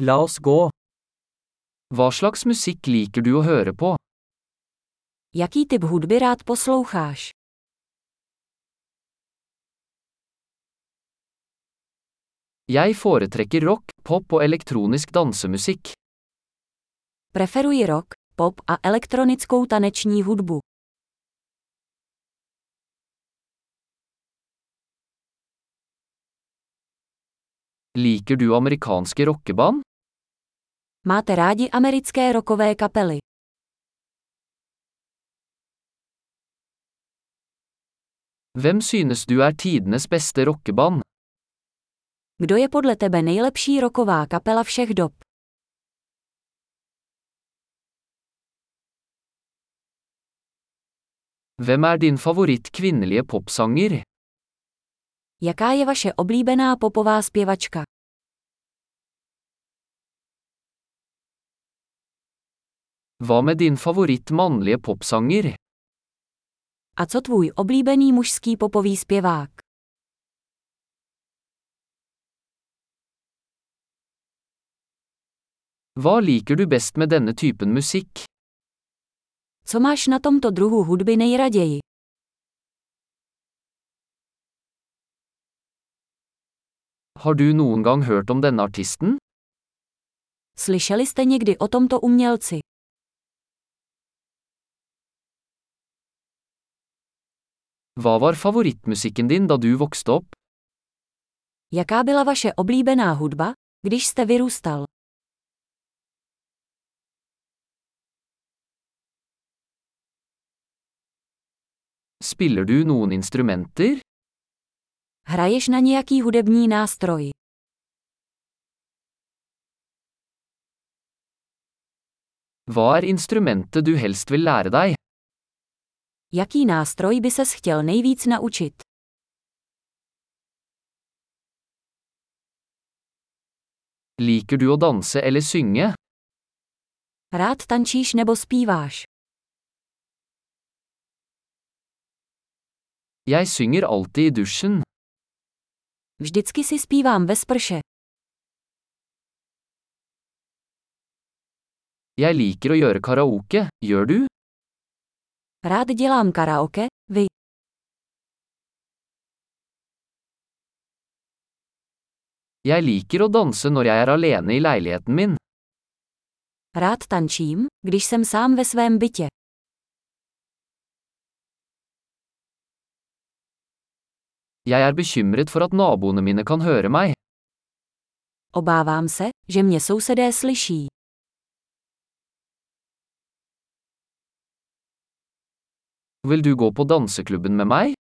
La oss gå. Hva slags musikk liker du å høre på? Jaký typ hudby rád posloucháš? Jeg foretrekker rock, pop og elektronisk dansemusikk. Preferuji rock, pop a elektronickou taneční hudbu. Liker du amerikanske rockeband? Máte rádi americké rockové kapely? Hvem synes du er tidenes beste rockeband? Kdo je podle tebe nejlepší roková kapela všech dob? Hvem er din favoritt kvinnelige popsanger? Jaká je vaše oblíbená popová zpěvačka? Hva med din favoritt mannlige popsanger? A co tvůj oblíbený mužský popový zpěvák? Hva liker du best med denne typen musikk? Co máš na tomto druhu hudby nejraději? Har du noen gang hørt om denne artisten? Slyšeli jste někdy o tomto umělci? Hva var favorittmusikken din da du vokste opp? Jaká byla vaše oblíbená hudba, když jste vyrůstal? Spiller du noen instrumenter? Hraješ na nějaký hudební nástroj? Hva er instrumentet du helst vil lære deg? Jaký nástroj by ses chtěl nejvíc naučit? Liker du å danse eller synge? Rád tančíš nebo zpíváš? Jeg synger alltid i dusjen. Vždycky si zpívám ve sprše. Jeg liker å gjøre karaoke, gjør du? Rád dělám karaoke, vy. Jeg liker å danse når jeg er alene i leiligheten min. Rád tančím, když jsem sám ve svém bytě. Jeg er bekymret for at naboene mine kan høre meg. Obávám se, že mě sousedé slyší. Vil du gå på danseklubben med meg?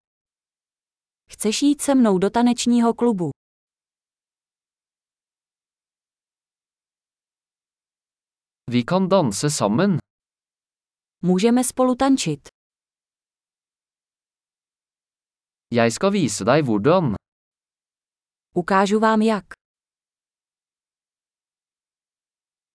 Chceš jít se mnou do tanečního klubu? Vi kan danse sammen. Můžeme spolu tančit. Jeg skal vise deg hvordan. Ukážu vám jak.